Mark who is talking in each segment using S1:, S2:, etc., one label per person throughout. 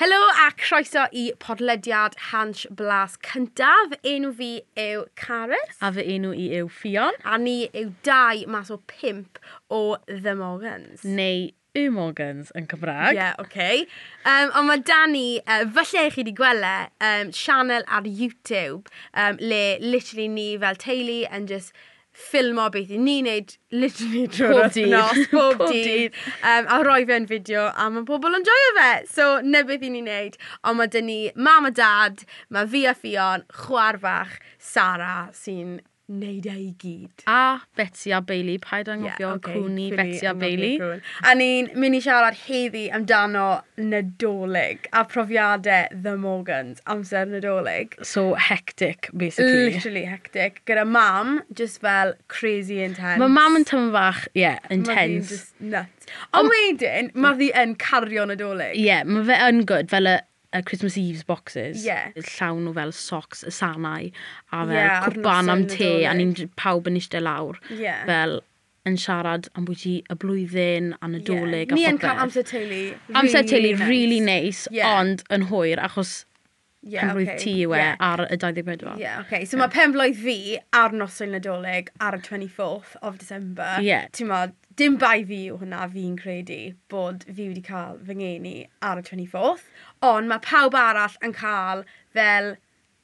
S1: Helo a croeso i podlediad Hans Blas cyntaf. Enw fi yw Caris.
S2: A fy enw i yw Fion,
S1: A ni yw dau mas o pimp o The Morgans.
S2: neu Y Morgans yn Cymraeg.
S1: Ie, oce. Yym, Ond mae Dani, uh, falle chi wedi gweld, um, sianel ar YouTube, um, le literally ni fel teulu yn just ffilmo beth i ni'n neud literally
S2: Pob
S1: drwy'r
S2: dydd.
S1: wythnos, bob
S2: Pob
S1: dydd,
S2: dydd.
S1: um, a roi fe'n fideo, a mae pobl yn joio fe. So, na beth i ni'n neud, ond mae dyn ni mam a dad, mae fi a Fion, chwar fach, Sara, sy'n neud e i gyd.
S2: A Betsy a Bailey, paid anghofio yeah,
S1: ocê, cwni
S2: Cwni, Betsy a
S1: am
S2: Bailey.
S1: Cwn. A ni'n mynd i siarad heddi amdano Nadolig a profiadau The Morgans amser Nadolig.
S2: So hectic, basically.
S1: Literally hectic. Gyda mam, just fel crazy intense.
S2: Mae mam yn tymyn fach, ie, yeah,
S1: Ma' fi'n
S2: intense.
S1: just nuts. Ond wedyn, mae ddi yn cario Nadolig.
S2: Ie, yeah, mae fe yn good, fel y, y Christmas Eve's boxes.
S1: Ie.
S2: Llawn nhw fel socks, y sanau, a fel
S1: Ie,
S2: yeah,
S1: ar
S2: cwpan am
S1: noson
S2: te, a
S1: Nadolig.
S2: ni'n j- pawb yn eistedd lawr.
S1: e. Ie.
S2: Fel yn siarad am bwyty y blwyddyn, a nadolig,
S1: Ni
S2: a
S1: yn
S2: popeth.
S1: cael amser teulu.
S2: Amser teulu, really nice,
S1: Ie.
S2: ond yn hwyr, achos
S1: Yeah,
S2: penblwydd
S1: okay,
S2: ti yw e
S1: ie.
S2: ar y 24.
S1: Ie, yeah, okay. So yeah. mae penblwydd fi ar noson Nadolig ar y 24th of December.
S2: Ie.
S1: Ti'n modd, dim bai fi yw hwnna fi'n credu bod fi wedi cael fy ngeni ar y 24th. Ond mae pawb arall yn cael fel,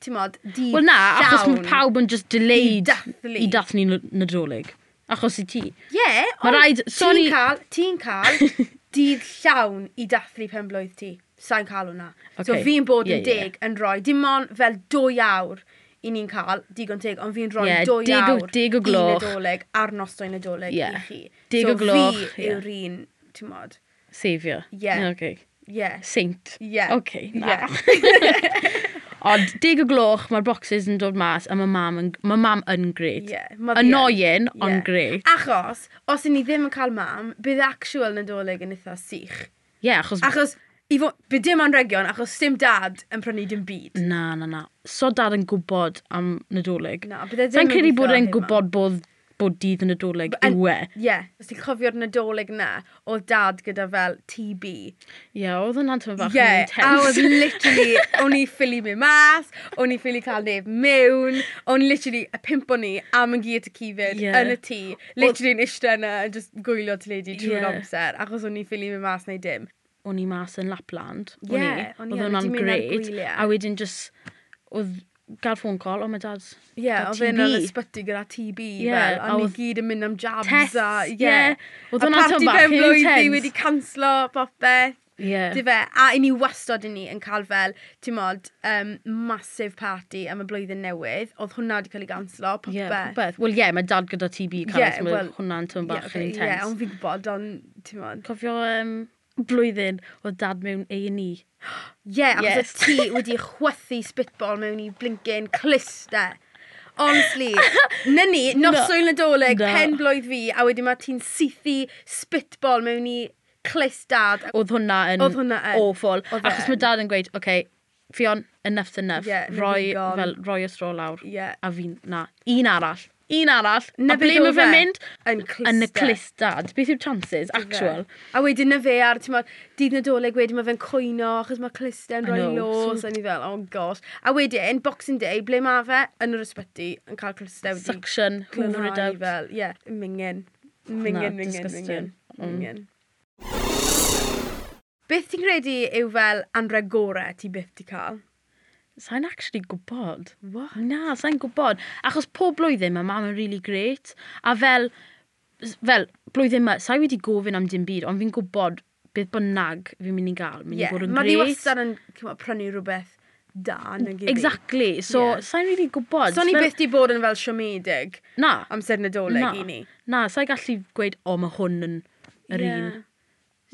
S1: ti'n modd, di
S2: Wel na, achos
S1: llawn
S2: mae pawb yn just delayed
S1: I dathlu.
S2: i dathlu n- nadolig. Achos i ti.
S1: Ie, yeah,
S2: Ma' raid- sorry-
S1: ti'n cael, ti'n cael dydd llawn i dathlu penblwydd ti. Sa'n cael hwnna. Okay. So
S2: Okay.
S1: fi'n bod yn
S2: Ie, ie.
S1: deg yn rhoi, dim ond fel dwy awr i ni'n cael digon teg, ond fi'n rhoi
S2: Ie,
S1: dwy
S2: deg o-
S1: awr
S2: deg o
S1: i
S2: gloch.
S1: nadolig ar noson nadolig
S2: Ie.
S1: i chi.
S2: Deg o gloch,
S1: So fi
S2: ie.
S1: yw'r un, ti'n modd.
S2: Saviour.
S1: Ie.
S2: Okay.
S1: Yes.
S2: Saint.
S1: Ie.
S2: Okay,
S1: Ie.
S2: na. Ond dig o gloch, mae'r boxes yn dod mas a mae mam yn, ma mam yn great.
S1: Ie, ma' fi yn.
S2: Annoying,
S1: Ie.
S2: ond great.
S1: Achos, os yn ni ddim yn cael mam, bydd actual nadolig yn eitha sych.
S2: Ie, achos...
S1: Achos, i fo, bydd dim anregion, achos dim dad yn prynu dim byd.
S2: Na, na, na. So dad yn gwybod am nadolig.
S1: Na, bydde ddim
S2: Sa'n
S1: yn
S2: credu
S1: gweithio
S2: bod
S1: ar
S2: e'n
S1: hyn, mam.
S2: gwybod bod, bod dydd yn nadolig
S1: Yn-
S2: yw e.
S1: Ie, yeah. os ti'n cofio'r nadolig na, o dad gyda fel TB.
S2: Ie, oedd hwnna'n tyma
S1: Ie,
S2: bach yn
S1: yeah,
S2: intense.
S1: a oedd literally, o'n i ffili mynd mas, o'n i ffili cael neb mewn, o'n i literally, y pimp o'n i, am yn gyd y cifyd,
S2: Ie.
S1: yeah. yn y tŷ, literally yn eistedd yna, yn just gwylio tyledu trwy'r
S2: Ie.
S1: amser, achos o'n i ffili mynd mas neu dim.
S2: o'n i mas yn Lapland. O'n
S1: Ie,
S2: i.
S1: o'n i yn,
S2: Oedd
S1: wedi
S2: hwnna'n
S1: mynd ar
S2: great.
S1: gwyliau.
S2: A wedyn just, oedd gael ffôn call, oh my dad.
S1: Ie, yeah,
S2: Da
S1: oedd e'n yn
S2: TB.
S1: ysbyty gyda TB,
S2: Ie,
S1: fel,
S2: a
S1: a ni
S2: oedd-
S1: gyd yn mynd am jabs
S2: Tests,
S1: a...
S2: ie. Oedd
S1: A
S2: hwnna'n
S1: parti
S2: tamaid bach yn
S1: penblwydd fi
S2: intense.
S1: wedi canslo popeth. Di
S2: Ie.
S1: fe, a i ni wastod yn ni yn cael fel, ti'n modd, um, massive party am y blwyddyn newydd. Oedd hwnna wedi cael ei ganslo, popeth.
S2: Ie, beth. Wel, ie, mae dad gyda TB cael,
S1: Ie,
S2: yeah, mae
S1: wel,
S2: hwnna'n tymyn
S1: Ie,
S2: bach yn
S1: oce, Ie,
S2: intense.
S1: ond fi'n gwybod, ond, ti'n modd.
S2: Cofio um, blwyddyn, oedd dad mewn E. A&E.
S1: Ie, achos
S2: Yes.
S1: yes. ti wedi chwythu spitball mewn i blinkin clister. Honestly, na ni, noswyl nadolig,
S2: Na.
S1: pen blwydd fi, a wedyn mae ti'n sithu spitball mewn i clistad.
S2: Oedd hwnna yn
S1: Oedd hwnna yn-
S2: awful.
S1: Oedd e
S2: Achos mae
S1: yn.
S2: dad yn gweud, oce, okay, Fion, enough's enough.
S1: Ie, na
S2: roi,
S1: ddigon.
S2: fel, roi y stro lawr.
S1: Ie.
S2: A fi'n, na, un arall. Un arall.
S1: Na beth
S2: a ble mae
S1: oedd e?
S2: fe'n mynd?
S1: Yn
S2: Yn y
S1: clister.
S2: clistad. Beth yw chances, actual?
S1: Fe. A wedyn na fe ar, ti'n modd, dydd nadolig wedyn mae fe'n coino, achos mae clister yn
S2: I
S1: rhoi
S2: know,
S1: los,
S2: so-
S1: a ni fel, oh gosh. A wedyn, Boxing Day, ble mae fe yn yr ysbyty yn cael clister wedi
S2: Suction, hoover it
S1: glanhau
S2: out.
S1: Fel, ie, yeah, mingen. Mingen, mingen, mingen.
S2: disgusting. Mm.
S1: Mingen. Beth ti'n credu yw fel anreg gorau ti byth ti cael?
S2: Sa'n actually gwybod.
S1: What?
S2: Na, sa'n gwybod. Achos pob blwyddyn mae mam yn really great. A fel, fel blwyddyn yma, sa'i wedi gofyn am dim byd, ond fi'n gwybod beth bynnag fi'n mynd i gael. Mynd
S1: Ie,
S2: i bod yn
S1: mae fi
S2: great.
S1: wastad yn t'mo', prynu rhywbeth da yn y gyd.
S2: Mm, Exactly. So,
S1: Ie.
S2: yeah. sa'n really gwybod.
S1: So ni byth di bod yn fel siomedig
S2: Na,
S1: amser
S2: na.
S1: nadolig i ni.
S2: Na, sa'i gallu gweud, o, mae hwn yn yr
S1: Ie.
S2: un.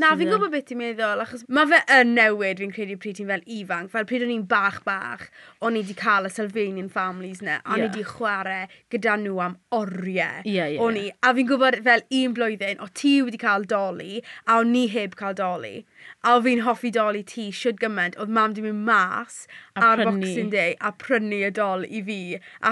S1: Na,
S2: sydd
S1: fi'n
S2: yn-
S1: gwybod beth ti'n meddwl, achos mae fe yn newid, fi'n credu pryd ti'n fel ifanc, fel pryd o'n i'n bach bach, o'n i wedi cael y Sylvanian families na, a o'n i
S2: Ie.
S1: wedi chwarae gyda nhw am oriau.
S2: Ie, ie,
S1: O'n
S2: ie.
S1: i, a fi'n gwybod fel un blwyddyn, o ti wedi cael doli, a o'n ni heb cael doli. A o fi'n hoffi doli ti, siwr gymaint, oedd mam di mynd mas
S2: A
S1: ar
S2: prynu.
S1: Boxing Day a prynu y dol i fi,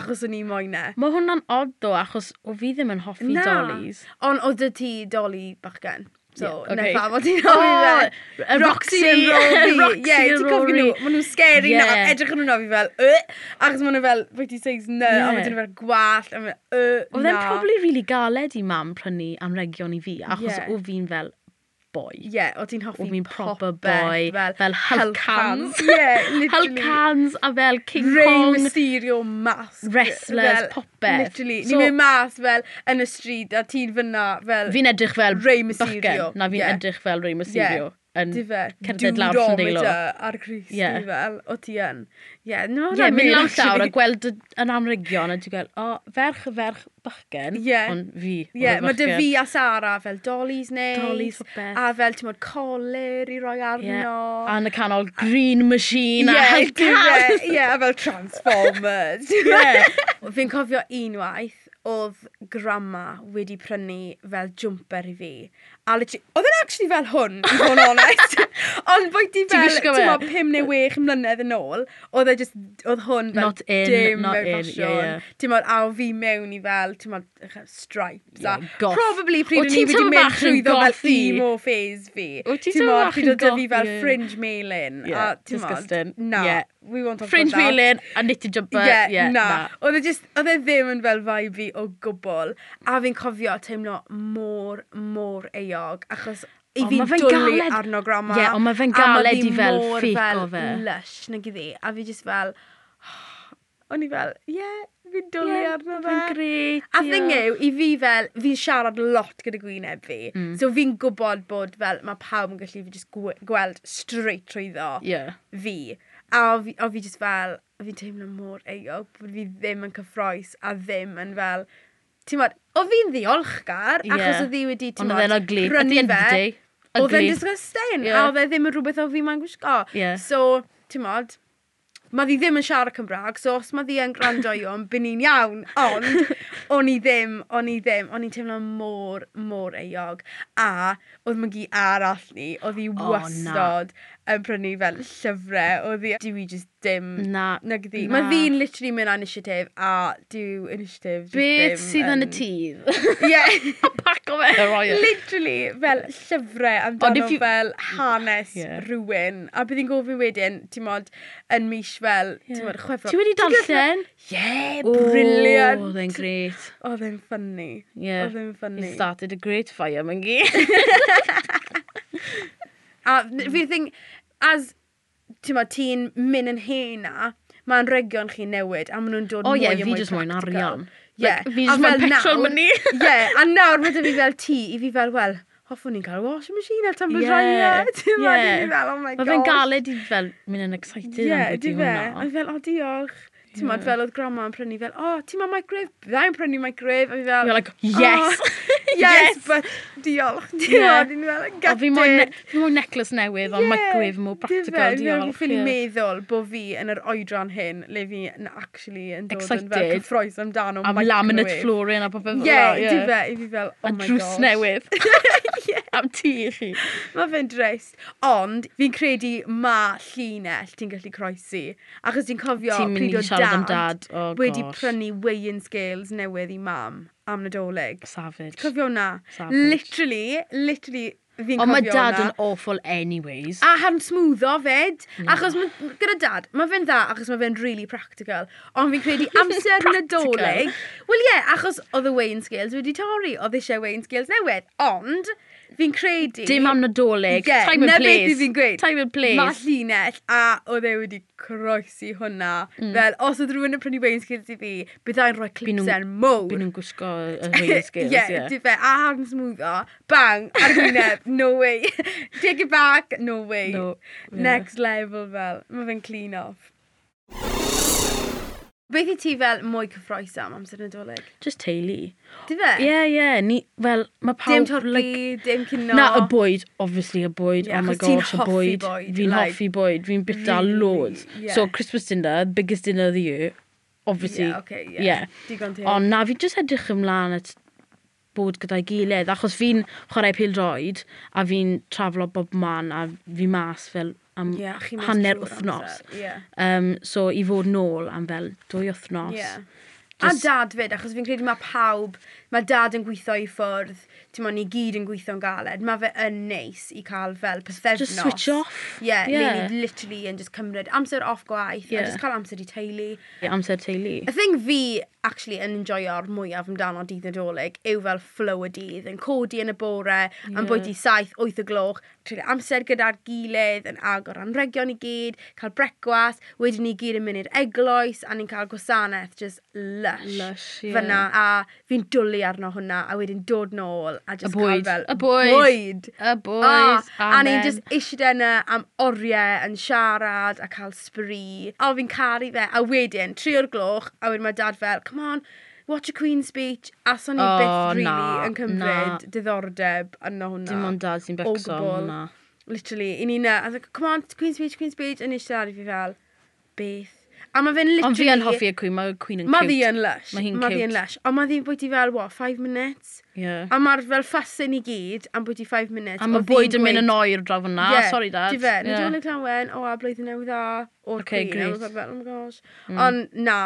S1: achos o'n i moyn e.
S2: Mae hwnna'n odd, ddo, achos o fi ddim yn hoffi
S1: Na,
S2: dolis.
S1: Ond oedd y ti doli bachgen. So,
S2: Ie,
S1: yeah, okay.
S2: okay.
S1: na ffa, ti'n nofio fe.
S2: Yy,
S1: Roxy and Rory.
S2: Roxy
S1: Ie,
S2: and
S1: ti'n cofio nhw.
S2: Rory.
S1: Maen nhw'n scary yeah.
S2: Ie.
S1: na. Edrych yn nhw'n nofio fel, yy. Achos maen nhw fel, wedi seis ny, yeah.
S2: Ie.
S1: a maen nhw'n fel gwallt, a maen nhw, yy, na.
S2: Oedd e'n probably really galed i mam prynu amregion i fi, achos
S1: Ie.
S2: yeah. o fi'n fel boi.
S1: Ie, o ti'n hoffi
S2: O fi'n proper
S1: popeth,
S2: boi, fel Hulk hands.
S1: Ie,
S2: Hulk
S1: literally.
S2: hands a fel King
S1: Rey
S2: Kong.
S1: Mysterio mask.
S2: wrestlers,
S1: fel,
S2: popeth.
S1: Literally,
S2: So-
S1: ni'n mynd mas fel yn y stryd, a ti'n fyna fel...
S2: Fi'n edrych fel
S1: Rey
S2: bachgen,
S1: Mysterio,
S2: Na fi'n
S1: ie.
S2: edrych fel Rey Mysterio. Yn...
S1: Di fe,
S2: Hmm. cerdded lawr tr'n deilo.
S1: dudometer ar Chris,
S2: Ie.
S1: yeah. fel, o ti yn. Ie, no,
S2: Ie, mynd lawr llawr a gweld y- yn amrygion a ti'n gweld, o, ferch y ferch bachgen,
S1: Ie.
S2: ond fi. oedd
S1: Ie,
S2: y
S1: mae dy
S2: bachgen.
S1: fi a Sara fel dolis neis.
S2: Dollies, popeth.
S1: A fel, ti'n modd, colir i roi arno.
S2: Ie, A yn y canol, green machine a
S1: Ie,
S2: help
S1: di fe, ie, a fel Transformers.
S2: Ie.
S1: Fi'n cofio unwaith, oedd grandma wedi prynu fel jumper i fi. A literally, oedd yn actually fel hwn, i fod yn honest. Ond boi di
S2: Ti'n
S1: fel,
S2: gwisgo fe?
S1: ti'n modd, 5 neu 6 mlynedd yn ôl, oedd e just, oedd hwn fel
S2: Not in,
S1: dim
S2: not
S1: mewn
S2: in, ie,
S1: ffasiwn.
S2: ie.
S1: Ti'n modd, a o fi mewn i fel, ti'n modd, ych- stripes. a
S2: Ie, goth.
S1: Probably pryd
S2: O,
S1: o'n i
S2: ti'n
S1: wedi
S2: teimlo
S1: mynd
S2: bach yn
S1: trwyddo fel
S2: goth i?
S1: emo phase fi.
S2: O, ti'n
S1: Ti'n
S2: teimlo
S1: modd,
S2: bach
S1: pryd
S2: yn
S1: oedd 'da fi
S2: goth,
S1: fel
S2: ie.
S1: fringe melin.
S2: Ie,
S1: A ti'n modd,
S2: disgusting.
S1: na,
S2: Ie.
S1: we won't talk
S2: Fringe
S1: about that.
S2: feeling a knitted jumper.
S1: Ie,
S2: Ie,
S1: na. Oedd e jyst, oedd e ddim yn fel vibe fi o gwbl. A fi'n cofio teimlo mor, mor eog. Achos i
S2: O,
S1: fi'n
S2: ma' fe'n
S1: dwlu
S2: galed-
S1: arno grama.
S2: Ie, ond ma' fe'n galed i
S1: A
S2: fel ffeico
S1: ma' fi mor
S2: fe.
S1: fel lush, nag iddi. A fi jyst fel... O'n i fel, ie, fi'n dwlu arno fe.
S2: Fe'n gret.
S1: A thing yw, i fi fel, fi'n siarad lot gyda gwyneb fi.
S2: Mm.
S1: So fi'n gwybod bod fel, mae pawb yn gallu fi jyst gwe- gweld straight trwyddo
S2: Ie.
S1: fi. A o fi, o fi just fel, o fi'n teimlo mor eog bod fi ddim yn cyffroes a ddim yn fel... Ti'n modd, o fi'n ddiolchgar,
S2: Ie.
S1: yeah. achos oedd hi wedi, ti'n
S2: Ond
S1: modd,
S2: oedd e'n ugly. At the end of the day.
S1: Oedd e'n
S2: ugly.
S1: disgusting,
S2: Ie.
S1: a oedd e ddim yn rhywbeth o fi mae'n gwisgo.
S2: Ie.
S1: So, ti'n modd, mae ddi ddim yn siarad Cymraeg, so os mae ddi yn gwrando i o'n, byn ni'n iawn. Ond, o'n i ddim, o'n i ddim, o'n i'n teimlo mor, mor eog. A, oedd mygi arall ni, oedd hi
S2: O, na.
S1: wastod yn prynu fel llyfrau, oedd hi, dwi just dim.
S2: Na.
S1: Nag ddi.
S2: na.
S1: Mae fi'n literally mynd ar initiative, a dyw initiative. jyst
S2: Beth
S1: ddim
S2: sydd yn y tydd?
S1: Ie.
S2: Pac o fe. Roi e.
S1: Literally, fel llyfrau
S2: Ond
S1: amdano
S2: if you-
S1: fel hanes
S2: Ie.
S1: rhywun. A bydd i'n gofyn wedyn, ti'n modd, yn mis fel, ti'n modd, chwefro.
S2: Ti wedi darllen?
S1: Ie,
S2: O,
S1: briliant.
S2: Oedd e'n gret.
S1: Oedd e'n ffynnu.
S2: Ie.
S1: Oedd e'n ffynnu.
S2: It started a great fire, mae'n gi.
S1: A fi'n think, as, ti'n modd, ti'n mynd yn hena, mae'n region chi newid, a maen nhw'n dod
S2: O
S1: mwy
S2: ie,
S1: a
S2: fi
S1: mwy
S2: jyst moyn
S1: practical.
S2: arian.
S1: Ie.
S2: Like, fi
S1: a
S2: jyst moyn
S1: fel
S2: petrol
S1: nawr-
S2: money.
S1: Ie, a nawr mae fi fel ti, i fi fel, wel, hoffwn ni'n cael washing machine a tan bod
S2: Ie,
S1: rhaid. Ti'n modd, i
S2: ie.
S1: fi fel, oh my god.
S2: Mae fe'n galed i fel mynd yn excited
S1: Ie,
S2: am bwyty
S1: di fe. A
S2: hwnna.
S1: fi fel, o, diolch. Ti'n modd, fel oedd grandma yn prynu fel, o, ti'n modd microwave? Fydda i'n prynu microwave. A fi fel,
S2: You're like, yes!
S1: "Oh, yes, but diolch. Ti'n
S2: Ie.
S1: modd, i'n fel,
S2: A
S1: gade.
S2: fi moyn ne- fi moyn necklace newydd, ond microwave mwy practical,
S1: Fi
S2: diolch.
S1: ffyn i
S2: ie.
S1: meddwl bod fi yn yr oedran hyn, le fi yn actually yn dod yn fel
S2: Excited.
S1: cyffroes amdano
S2: Am
S1: microwave.
S2: laminate flooring a popeth fel
S1: Ie,
S2: that,
S1: di fe, i fi fel, oh
S2: A
S1: my gosh.
S2: drws newydd. Am ti i chi.
S1: Mae fe'n drist. Ond, fi'n credu ma llinell ti'n gallu croesi. Achos ti'n cofio
S2: Ti'n mynd
S1: pryd
S2: i
S1: o
S2: siarad am
S1: dad,
S2: dad, o
S1: wedi
S2: gosh.
S1: prynu weighing scales newydd i mam am nadolig.
S2: Savage.
S1: Cofio hwnna?
S2: Savage.
S1: Literally, literally, fi'n cofio
S2: Ond mae
S1: hwnna.
S2: dad yn awful anyways.
S1: A hand smwddo fed. Achos ma, gyda dad, mae fe'n dda, achos mae fe'n really practical. Ond fi'n credu amser
S2: Practical.
S1: nadolig... Wel ie, yeah, achos oedd y weighing scales wedi torri. Oedd eisiau weighing scales newydd. Ond, fi'n credu...
S2: Dim am nadolig.
S1: Ie,
S2: Time and
S1: na
S2: place.
S1: beth i fi'n gweud.
S2: Time and
S1: Mae
S2: place.
S1: llinell a oedd e wedi croesi hwnna.
S2: Mm.
S1: Fel, os oedd rhywun yn prynu weighing scales i fi, byddai'n rhoi
S2: nhw'n-
S1: clipsen
S2: Byd
S1: mowr.
S2: nhw'n gwisgo uh, y weighing scales,
S1: Ie,
S2: ie.
S1: di fe, a harn smwddo, bang, ar gwyneb, no way. Take it back, no way.
S2: No, ie.
S1: Next level fel, mae fe'n clean off. Beth i ti fel mwy cyffroes am amser nadolig?
S2: Just teulu.
S1: Di fe?
S2: Ie, ie. ni- Wel, mae pawb...
S1: Dim
S2: like,
S1: torri, dim cynno.
S2: Na, y bwyd, obviously, y bwyd,
S1: Ie,
S2: oh my
S1: achos ti'n
S2: gosh, y
S1: hoffi
S2: bwyd.
S1: bwyd,
S2: Fi'n
S1: like,
S2: hoffi bwyd, fi'n bita
S1: really,
S2: loads.
S1: ie.
S2: So, Christmas dinner, biggest dinner of the year, obviously.
S1: Ie, oce, ie.
S2: Ie.
S1: Digon teg.
S2: Ond na, fi'n just edrych ymlaen at bod gyda'i gilydd, achos fi'n chwarae pildroed, a fi'n traflo bob man, a fi mas fel am
S1: Ie, chi mas
S2: hanner
S1: trwy'r
S2: wythnos.
S1: amser, Ie.
S2: Um, so, i fod nôl am fel dwy wythnos.
S1: Ie. A
S2: Jyst-
S1: dad fyd, achos fi'n credu mae pawb, mae dad yn gweithio i ffwrdd, ti'n mo'n ni gyd yn gweithio'n galed, mae fe yn neis i cael fel pethefnos.
S2: Just switch off.
S1: Yeah, yeah.
S2: Yeah.
S1: Ni literally yn just cymryd amser off gwaith, yeah.
S2: Yeah.
S1: a just cael amser i teulu.
S2: Ie, Amser teulu.
S1: Y thing fi, actually, yn enjoio'r mwyaf amdano dydd nadolig yw fel flow y dydd, yn codi yn y bore, yn bwyty 7, 8 o gloch, treulio amser gyda'r gilydd, yn agor anregion i gyd, cael brecwas, wedyn ni gyd yn mynd i'r eglwys, a ni'n cael gwasanaeth, just lush.
S2: Lush, ie.
S1: Fyna, a fi'n dwlu arno hwnna, a wedyn dod nôl, a just
S2: Y bwyd.
S1: cael fel...
S2: Y bwyd.
S1: Bwyd.
S2: Y boys,
S1: Ah, a
S2: amen.
S1: ni'n just eisiau yna am oriau yn siarad a cael sbri. A fi'n caru fe. A wedyn, tri o'r gloch, a wedyn mae dad fel, come on, watch a Queen's speech. A son ni
S2: O,
S1: byth really
S2: na,
S1: yn cymryd diddordeb yno hwnna.
S2: Dim ond dad sy'n
S1: O
S2: becso am
S1: gwbl.
S2: hwnna.
S1: Literally, i ni na. A dda, come on, Queen's speech, Queen's speech. A nes i dad i fi fel, beth. A mae fe'n literally...
S2: Ond fi yn hoffi y Queen, mae Queen yn
S1: Mae
S2: cute.
S1: ddi yn lush.
S2: Mae hi'n
S1: Mae ddi yn
S2: cute.
S1: lush. Ond mae ddi'n bwyty fel, what, five minutes?
S2: Yeah.
S1: A mae'r fel ffasyn i gyd am bwyty five minutes.
S2: A mae
S1: o fi'n
S2: bwyd yn mynd
S1: gweud-
S2: yn oer draw fyna.
S1: Ie,
S2: Sorry, Ah, dad.
S1: Di fe, nid
S2: Ie.
S1: yeah. Oleg Llawen, o a blwyddyn newydd dda, o'r
S2: Okay,
S1: Queen. a
S2: great. Mm.
S1: ma' fe fel, oh my gosh. Ond na,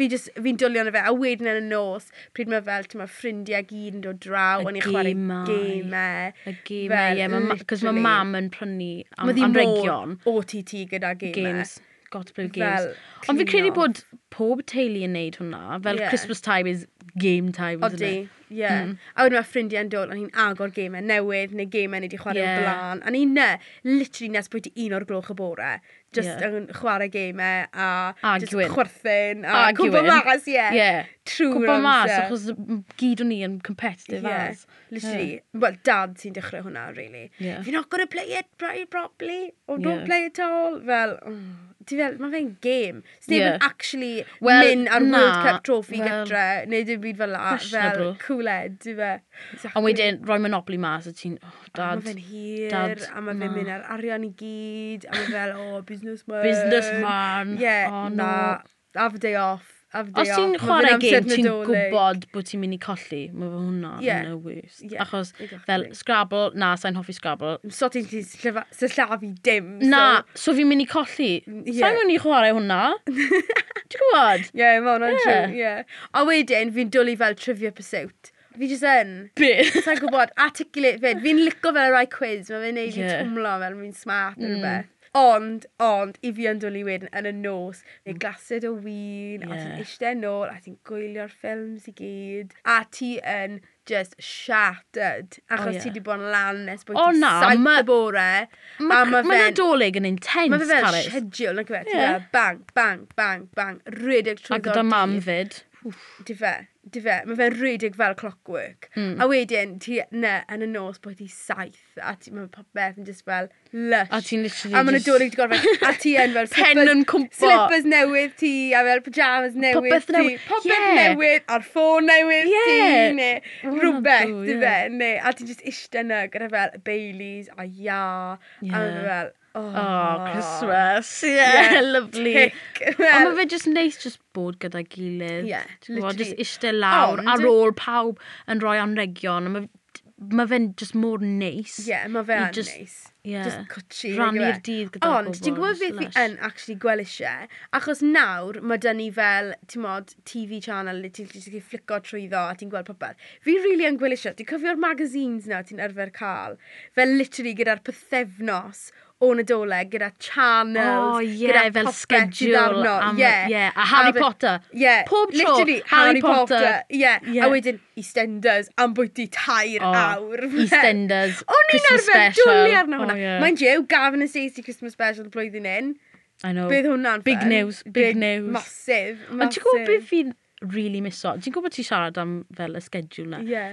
S1: fi just, fi'n dwlio na fe, a wedyn yn y nos, pryd mae fel, ti'n ma ffrindiau gyd yn dod draw,
S2: Y
S1: o'n i'n chwarae
S2: gemau.
S1: gemau.
S2: Y
S1: Fel,
S2: gemau, ie. Cos mae
S1: literally.
S2: mam yn prynu am,
S1: Mae di
S2: am
S1: mor
S2: region.
S1: OTT gyda gemau.
S2: Games. Got blue games.
S1: Fel,
S2: Ond fi
S1: clean
S2: credu
S1: off.
S2: bod pob teulu yn neud hwnna. Fel
S1: Ie.
S2: Christmas time is game time, isn't
S1: Odi,
S2: it? Mm.
S1: ie. A wedyn mae ffrindiau'n dod, a ni'n agor gemau newydd, neu gemau ni wedi chwarae
S2: Ie.
S1: o blaen. A ni'n ne, literally nes bod i un o'r gloch y bore, just
S2: Ie.
S1: yn chwarae gemau, a,
S2: A
S1: just
S2: gwyn.
S1: chwerthin, a, cwpa
S2: gwyn.
S1: mas, ie.
S2: Ah, Ie.
S1: Trwy'r
S2: Cwpa mas,
S1: amser.
S2: achos m- gyd o'n i yn competitive
S1: Yeah,
S2: as.
S1: literally. Well, dad sy'n dechrau hwnna, really.
S2: Ie.
S1: If you're not going to play it pro- properly, or don't
S2: Ie.
S1: play it at all, fel, mm, ti fel, mae fe'n game. S'n
S2: Ie.
S1: yeah. actually
S2: Wel,
S1: mynd ar
S2: na,
S1: World Cup trophy
S2: wel,
S1: gytre, neu dim byd fel la, fel
S2: questionable.
S1: cwled, ti fe.
S2: Ond wedyn, rhoi Monopoly mas, a ti'n, oh,
S1: Mae
S2: dad,
S1: fe'n hir,
S2: dad,
S1: a mae fe'n
S2: na.
S1: mynd ar arian i gyd, a mae fel, oh, businessman.
S2: businessman.
S1: Yeah,
S2: oh, no.
S1: na, have a day off. Have a day
S2: Os ti'n
S1: off. Ma' fe'n
S2: chwarae
S1: amser
S2: gêm, ti'n
S1: Nadolig.
S2: gwybod bod ti'n mynd i colli. Mae fe hwnna
S1: Ie.
S2: yn y worst.
S1: Ie,
S2: Achos
S1: exactly.
S2: fel Scrabble, na, sa'n hoffi Scrabble.
S1: So ti'n gallu sillafu dim.
S2: Na, so fi'n mynd i colli.
S1: Ie.
S2: Sa'n mynd i chwarae hwnna. Ti'n gwybod?
S1: Ie, yeah, mae hwnna'n
S2: Ie.
S1: true, ie. A wedyn, fi'n dwlu fel trivia pursuit. Fi jyst yn,
S2: Be?
S1: sa'n gwybod, articulate fyd. Fi'n lico fel y rai quiz, mae fe'n neud i
S2: Ie.
S1: twmlo fel fi'n smart mm. rhywbeth. Ond, ond, i fi yn dwlu wedyn yn y nos, neu glased o win, a
S2: Mm. Ie.
S1: ti'n eistedd nôl, a ti'n gwylio'r ffilms i gyd, a ti yn just shattered, achos
S2: ie.
S1: ti di bod yn lan nes bod
S2: O,
S1: ti'n
S2: na,
S1: saith
S2: ma-
S1: y bore, a
S2: Mae
S1: ma
S2: ma
S1: fe'n
S2: nadolig yn intense,
S1: Mae fe fel
S2: Carys.
S1: schedule, nac fe,
S2: Ie.
S1: yeah. bang, bang, bang, bang, rhedeg trwy
S2: A gyda mam fyd.
S1: Di fe, di fe, mae fe'n rhedeg fel clockwork.
S2: Hmm.
S1: Mm. A wedyn, ti, ne, yn y nos bod ti saith, a ti, mae popeth yn just fel lush.
S2: A ti'n literally
S1: A mae'n
S2: just-
S1: adolyg di gorfod, a ti yn fel
S2: Pen
S1: slippers-
S2: yn cwmpo.
S1: Slippers newydd ti, a fel pyjamas newydd
S2: Popeth
S1: ti.
S2: newydd,
S1: Popeth
S2: ie.
S1: newydd, a'r ffôn newydd
S2: Ie.
S1: ti, neu
S2: O, na
S1: rhywbeth,
S2: dw,
S1: di
S2: ie.
S1: fe, neu, a ti just eistedd yna gyda fel Baileys a ia,
S2: Ie.
S1: a mae fel, oh,
S2: Oh, Christmas.
S1: Ie,
S2: Yeah, lovely.
S1: Tic,
S2: Ond
S1: fel-
S2: mae fe just neis just bod gyda gilydd.
S1: Ie,
S2: Ti'n gwbod, Just
S1: literally.
S2: eistedd lawr
S1: Ond-
S2: ar ôl pawb yn rhoi anregion. a ma- Mae fe'n just mor neis.
S1: Ie, mae fe
S2: You
S1: yn
S2: just-
S1: neis.
S2: Ie.
S1: Just cwtsi.
S2: Rannu'r dydd gyda
S1: Ond, ti'n
S2: pobl,
S1: gwybod beth fi
S2: lush.
S1: yn actually gweld eisiau? Achos nawr, mae dyn ni fel, ti'n mod, TV channel, le ti'n ti'n gallu flico trwyddo a ti'n gweld popeth. Fi really yn gweld eisiau. Ti'n cofio'r magazines na ti'n arfer cael? Fel literally gyda'r pethefnos o Nadolig, gyda channels,
S2: O, ie,
S1: gyda
S2: Oh, fel
S1: popeth
S2: schedule
S1: diddorol.
S2: am-
S1: Ie.
S2: ie, a Harry
S1: fe-
S2: Potter.
S1: Ie.
S2: Pob tro,
S1: literally, Harry
S2: Harry Potter.
S1: Potter. Ie.
S2: Ie.
S1: A wedyn, EastEnders, am bwyty tair
S2: O,
S1: awr.
S2: Oh, EastEnders,
S1: O'n i'n
S2: Christmas
S1: arfer
S2: special. Oh,
S1: dwlu arno
S2: O,
S1: hwnna.
S2: ie.
S1: Mind you, Gavin a Stacey Christmas special y blwyddyn hyn.
S2: I know.
S1: Bydd hwnna'n
S2: Oh. Big
S1: fun.
S2: news, big news.
S1: Massive, massive.
S2: Ond ti'n gwybod beth fi'n really miso? Ti'n gwybod ti siarad am fel y schedule na?
S1: Yeah.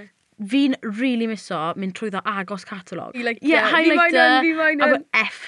S2: Fi'n really miso mynd trwyddo agos catalog.
S1: Highlighter. Fi
S2: Ie,
S1: moyn
S2: highlighter.
S1: hwn, fi moyn
S2: a
S1: hwn.
S2: we- F.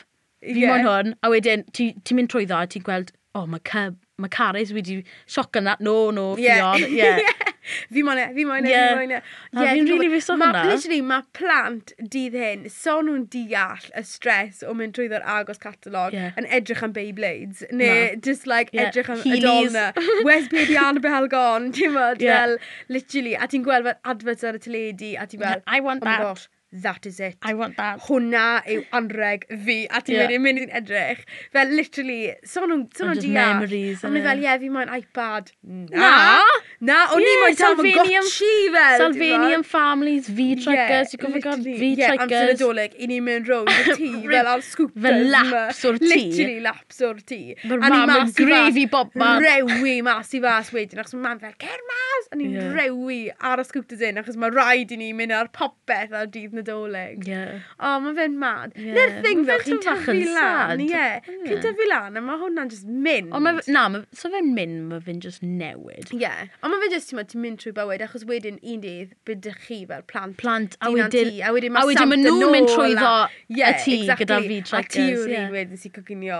S2: Fi
S1: Ie.
S2: moyn hwn. A wedyn, ti- ti'n mynd trwyddo a ti'n gweld, oh, o, mae Cub, mae Caris wedi sioc yna. No, no, Fion. Ie.
S1: Fi moyn e, fi moyn e,
S2: Ie.
S1: fi moyn e.
S2: Na, fi'n rili miso hwnna.
S1: Literally, mae plant dydd hyn, so nhw'n deall y stres o mynd trwyddo'r agos catalog
S2: Ie.
S1: yn edrych am Beyblades, neu just like
S2: Ie,
S1: edrych am
S2: Heelys.
S1: Adolna. Where's baby Annabelle gone? Ti'n gwybod,
S2: Ie.
S1: fel, literally, a ti'n gweld fel adverts ar y teledu, a ti'n fel,
S2: I want
S1: oh my
S2: that.
S1: gosh, that is it.
S2: I want that.
S1: Hwna yw anreg fi, a ti'n
S2: Ie.
S1: yeah. mynd i'n edrych. Fel, literally, son nhw'n son
S2: Ond
S1: nhw'n
S2: just
S1: deall.
S2: memories,
S1: Ond ni
S2: innit?
S1: fel, ie, fi moyn iPad.
S2: Na!
S1: Na, o'n i
S2: Ie,
S1: moyn
S2: Salvinium-
S1: Tamagotchi fel.
S2: Salvinium families, fi trackers, ti'n gofio gael fi
S1: Ie, amser y
S2: trackers.
S1: doleg, i ni'n mynd rownd y tŷ, fel ar scoopers.
S2: Fel
S1: ma.
S2: laps o'r tŷ.
S1: Literally laps o'r tŷ.
S2: Ma'r
S1: A ni
S2: mam yn
S1: mas i
S2: grif
S1: fas-
S2: i bobman.
S1: Rewi mas i fas wedyn, achos mae mam fel, cer mas! A ni'n
S2: Ie.
S1: rewi ar y scoopers yn, achos mae rhaid i ni mynd ar popeth ar dydd nadolig.
S2: Ie.
S1: O, mae fe'n mad.
S2: Ie,
S1: Na'r thing
S2: ma'
S1: ddo,
S2: fe'n
S1: chi'n
S2: tyfach
S1: tyfu
S2: yn
S1: lan, ie.
S2: sad. Ie.
S1: Chi'n tyfu lan, a mae hwnna'n just mynd.
S2: Ond mae, na, ma- so fe'n mynd, mae fe'n just newid.
S1: Ie. Ond mae fe jyst, ti'n ti'n mynd trwy bywyd, achos wedyn un dydd bydych chi fel plant.
S2: Plant, a
S1: Dinan
S2: wedyn,
S1: ti, a wedyn
S2: a
S1: mae
S2: wedyn ma'
S1: Santa
S2: nhw'n mynd
S1: nôl
S2: trwyddo
S1: a-
S2: y
S1: Ie,
S2: tŷ gyda
S1: exactly.
S2: fi
S1: A ti
S2: trackers,
S1: yw'r
S2: ie.
S1: un wedyn sy'n coginio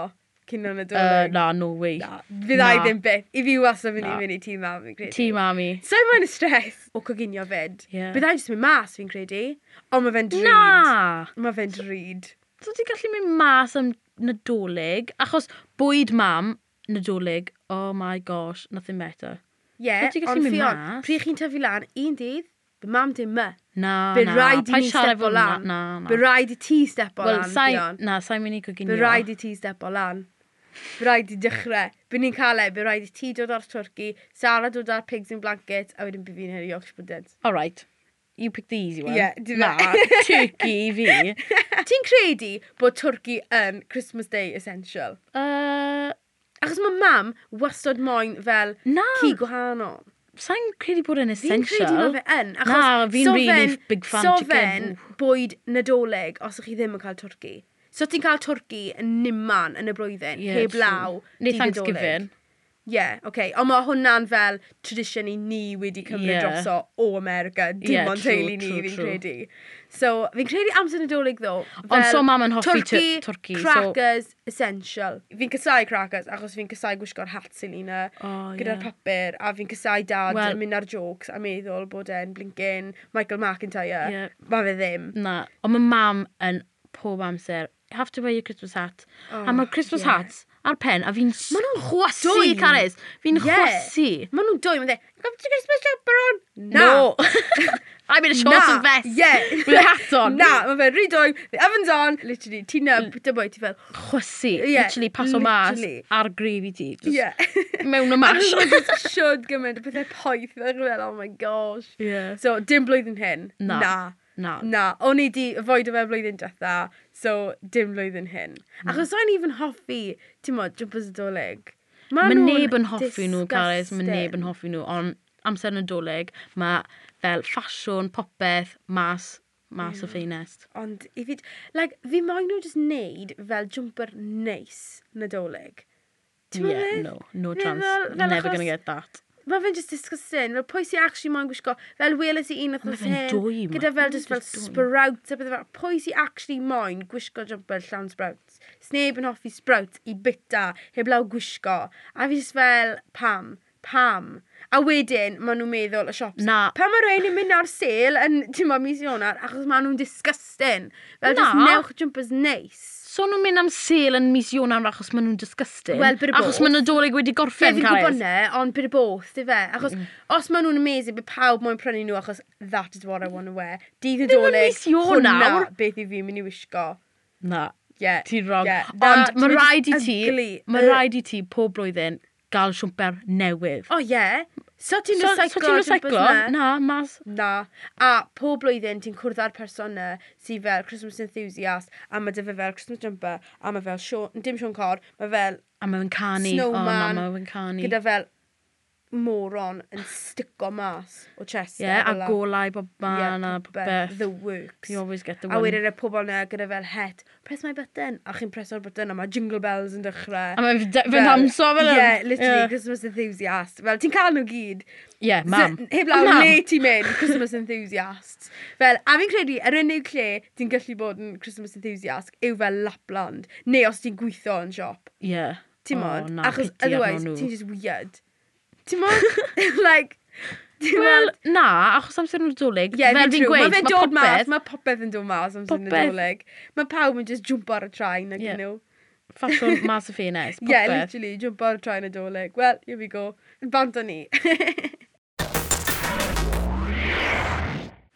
S1: cyn o'n y
S2: Uh,
S1: doleg.
S2: na, no way.
S1: Fydda i
S2: na.
S1: ddim beth. I fi wastad mynd i
S2: Na.
S1: mynd i tŷ mam, fi'n credu.
S2: Ti, mami.
S1: So mae'n y stres o coginio fyd.
S2: Ie.
S1: Bydda i'n just mynd mas, fi'n credu. Ond mae fe'n drud.
S2: Na!
S1: Mae fe'n drud.
S2: So ti'n gallu mynd mas am nadolig, achos bwyd mam, nadolig, oh my gosh, nothing better.
S1: Ie,
S2: Wyt ti'n gallu
S1: ond
S2: mynd
S1: ffion,
S2: mas?
S1: pryd chi'n tyfu lan, un dydd, by mam dim my.
S2: Na,
S1: By
S2: na.
S1: rhaid i
S2: paid
S1: ni
S2: siarad
S1: step o
S2: fel hwnna,
S1: lan.
S2: Na, na.
S1: By rhaid i ti step o
S2: Wel,
S1: lan,
S2: sai-
S1: ffion.
S2: Na, sa'n mynd i Mm, goginio.
S1: By rhaid i ti step o lan. By rhaid i dechrau. By ni'n cael e, by rhaid i ti dod o'r twrci, Sara dod o'r pigs in blanket, a wedyn by fi'n heri Yorkshire puddings.
S2: All right. You pick the easy one.
S1: Ie, di fe.
S2: Na, turkey i fi.
S1: Ti'n credu bod twrci yn Christmas Day essential?
S2: Uh,
S1: Achos mae mam wastod moyn fel
S2: na,
S1: ci gwahanol.
S2: sa'n credu bod
S1: Fi'n
S2: yn essential.
S1: credu mae fe yn. Achos
S2: Na, fi'n
S1: so
S2: really
S1: fe'n-
S2: big fan
S1: so
S2: chicken.
S1: fe'n bwyd nadolig os ych chi ddim yn cael twrci. So ti'n cael twrci yn niman yn y blwyddyn,
S2: Ie,
S1: yeah, heb
S2: true.
S1: law.
S2: Neu
S1: dydd Nadolig.
S2: Thanksgiving.
S1: Ie, yeah, oce. Okay. Ond mae hwnna'n fel tradition i ni wedi cymryd
S2: Ie.
S1: yeah. droso o America, dim
S2: Ie,
S1: yeah, ond
S2: true,
S1: teulu ni,
S2: true,
S1: fi'n
S2: true.
S1: credu. So, fi'n credu amser nadolig ddo.
S2: Ond
S1: fel
S2: so mam yn hoffi
S1: twrci,
S2: tu- twrci, so-
S1: Crackers, essential. Fi'n cysau crackers, achos fi'n cysau gwisgo'r hat Selina
S2: O,
S1: gyda'r
S2: ie.
S1: papur, a fi'n cysau dad
S2: Wel-
S1: well, mynd ar jokes a meddwl bod e'n blinkin Michael McIntyre.
S2: Ie.
S1: Mae fe ddim.
S2: Na, ond mae mam yn pob amser, you have to wear your Christmas hat. a mae Christmas
S1: ie.
S2: hats ar pen, a fi'n
S1: Oh, Ma' nhw'n
S2: chwasi,
S1: dwym.
S2: Caris. Fi'n
S1: Ie.
S2: chwasi.
S1: Maen nhw'n dwy, mae'n dweud, gofyn ti Christmas jumper on?
S2: No. I'm in a shorts and vest.
S1: Yeah.
S2: With a hat on.
S1: Na, mae fe'n rhy dwy, the oven's on, literally, ti'n nab, dy boi, ti fel,
S2: Chwasi.
S1: Ie,
S2: Literally, pas o mas
S1: literally.
S2: ar grif i ti. Just
S1: yeah. Oh
S2: Mewn o
S1: A
S2: mash.
S1: nhw'n just siwrd gymaint o pethau poeth, ac yn fel, oh my gosh.
S2: Ie.
S1: So, dim blwyddyn hyn.
S2: Na.
S1: Na.
S2: Na.
S1: Na, o'n i di foed o fe blwyddyn diwetha, so dim blwyddyn hyn. Achos o'n i'n hoffi, ti'n mo, jumpers adolyg.
S2: Mae neb yn hoffi nhw, Caris. Mae neb yn hoffi nhw. Ond amser nadolig, mae fel ffasiwn, popeth, mas, mas o ffeinest.
S1: Ond i fi, like, fi moyn nhw just neud fel jumper neis nadolig. Ti'n mo
S2: Yeah,
S1: beth?
S2: no, no
S1: Fe
S2: chance.
S1: fel- fel
S2: Never
S1: achos-
S2: gonna get that.
S1: Mae fe'n just disgusting. Fel pwy sy'n actually moyn gwisgo, fel weles i un o'r
S2: fe'n dwy, ma-
S1: Gyda fel
S2: ma'
S1: just
S2: fe'n
S1: fel
S2: just dwy.
S1: sprouts a bydde fel, pwy sy'n actually moyn gwisgo jumper llawn sprouts. Sneb yn hoffi sprouts i bita, heb law gwisgo. A fi just fel, pam, pam. A wedyn, maen nhw'n meddwl y shops.
S2: Na.
S1: Pam mae rhaid ni'n mynd ar sale yn, ti'n mo, mis Ionar, achos maen nhw'n disgusting. Fel just
S2: Na.
S1: newch jumpers neis.
S2: So nhw'n mynd am sale yn mis Ionar achos maen nhw'n disgusting.
S1: Wel, bit of
S2: Achos
S1: both.
S2: maen nhw'n dolyg wedi
S1: Fe
S2: gorffen,
S1: fi'n gwybod
S2: Caris.
S1: ne, ond bit of both, di fe. Achos mm. os maen nhw'n amazing, bydd pawb moyn prynu nhw achos that is what I want to wear. Dydd yn
S2: Ddim yn
S1: dolyg,
S2: mis Ionawr.
S1: beth i fi'n mynd i wisgo.
S2: Na,
S1: Yeah.
S2: ti'n wrong.
S1: Yeah, that-
S2: Ond mae
S1: ti'n
S2: rhaid i
S1: just
S2: ti,
S1: ugly.
S2: mae
S1: Yy.
S2: rhaid i ti pob blwyddyn gael siwmper newydd.
S1: O oh, yeah. So ti'n
S2: So- so
S1: recyclo?
S2: ti'n
S1: jumpers
S2: recyclo?
S1: na?
S2: Na, mas.
S1: Na. A pob blwyddyn ti'n cwrdd â'r person na sydd fel Christmas enthusiast a mae dy fe fel Christmas jumper a mae fel Sean, dim Sean Cor, mae fel
S2: A mae'n canu.
S1: Snowman.
S2: O, mae'n canu.
S1: gyda fel moron yn stico mas o chest. e,
S2: Ie, a golau bob man a popeth.
S1: The works.
S2: You always get the
S1: A
S2: one.
S1: wedyn y pobol na gyda fel het, press my button, a chi'n preso'r button a mae jingle bells yn dechrau.
S2: A mae'n fy namso fel
S1: Ie,
S2: hyn.
S1: yeah, literally,
S2: Ie.
S1: yeah. Christmas enthusiast. Fel, ti'n cael nhw gyd.
S2: Ie, mam.
S1: So, heb law,
S2: Mam.
S1: le ti'n mynd, Christmas enthusiast. Fel, a fi'n credu, yr unig lle ti'n gallu bod yn Christmas enthusiast yw fel Lapland, neu os ti'n gweithio yn siop.
S2: Ie.
S1: Ti'n
S2: O,
S1: mod?
S2: Oh, na,
S1: Achos,
S2: piti arnyn
S1: otherwise,
S2: nhw.
S1: ti'n just weird. Ti'n mod? like, ti'n
S2: Wel,
S1: mod?
S2: na, achos amser nhw'n dolyg,
S1: Ie,
S2: fel fi'n gweud,
S1: mae
S2: mae
S1: dod mas,
S2: popeth,
S1: mae popeth yn dod mas am sy'n
S2: Popeth.
S1: nadolig. Mae pawb yn just jump ar y train ag
S2: Ie.
S1: yeah. nhw.
S2: ffasiwn mas y ffenest,
S1: Yeah,
S2: popeth.
S1: literally, jump ar y train nadolig. Well, here we go. Bant o'n ni.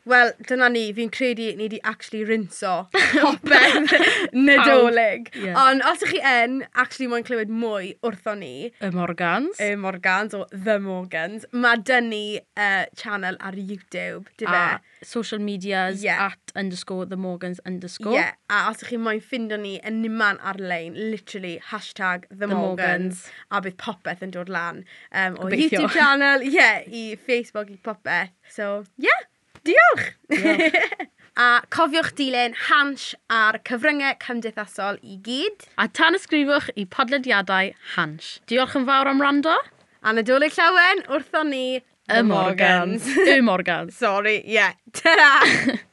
S1: Wel, dyna ni, fi'n credu ni wedi actually rinso hoben nadolig.
S2: Pawb, ie.
S1: Ond os ych chi yn, actually moyn clywed mwy wrtho ni,
S2: Y Morgans.
S1: y Morgans o The Morgans, mae dyn ni uh, channel ar YouTube, e? di fe?
S2: a social medias
S1: Ie.
S2: at underscore the Morgans underscore.
S1: Ie, a os ych chi moyn ffindo ni yn niman ar-lein, literally, hashtag The, Morgans,
S2: Morgans.
S1: a bydd popeth yn dod lan um, o
S2: Gobeithio.
S1: YouTube channel, ie, yeah, i Facebook, i popeth. So, ie, yeah, diolch! a cofiwch dilyn hans ar cyfryngau cymdeithasol i gyd,
S2: A tan ysgrifwch i podlediadau Hans. Diolch yn fawr am rando.
S1: a nadolig llawen wrthon ni,
S2: Y Morgans. Y Morgans.
S1: Sorry, ie, yeah. ta-ra!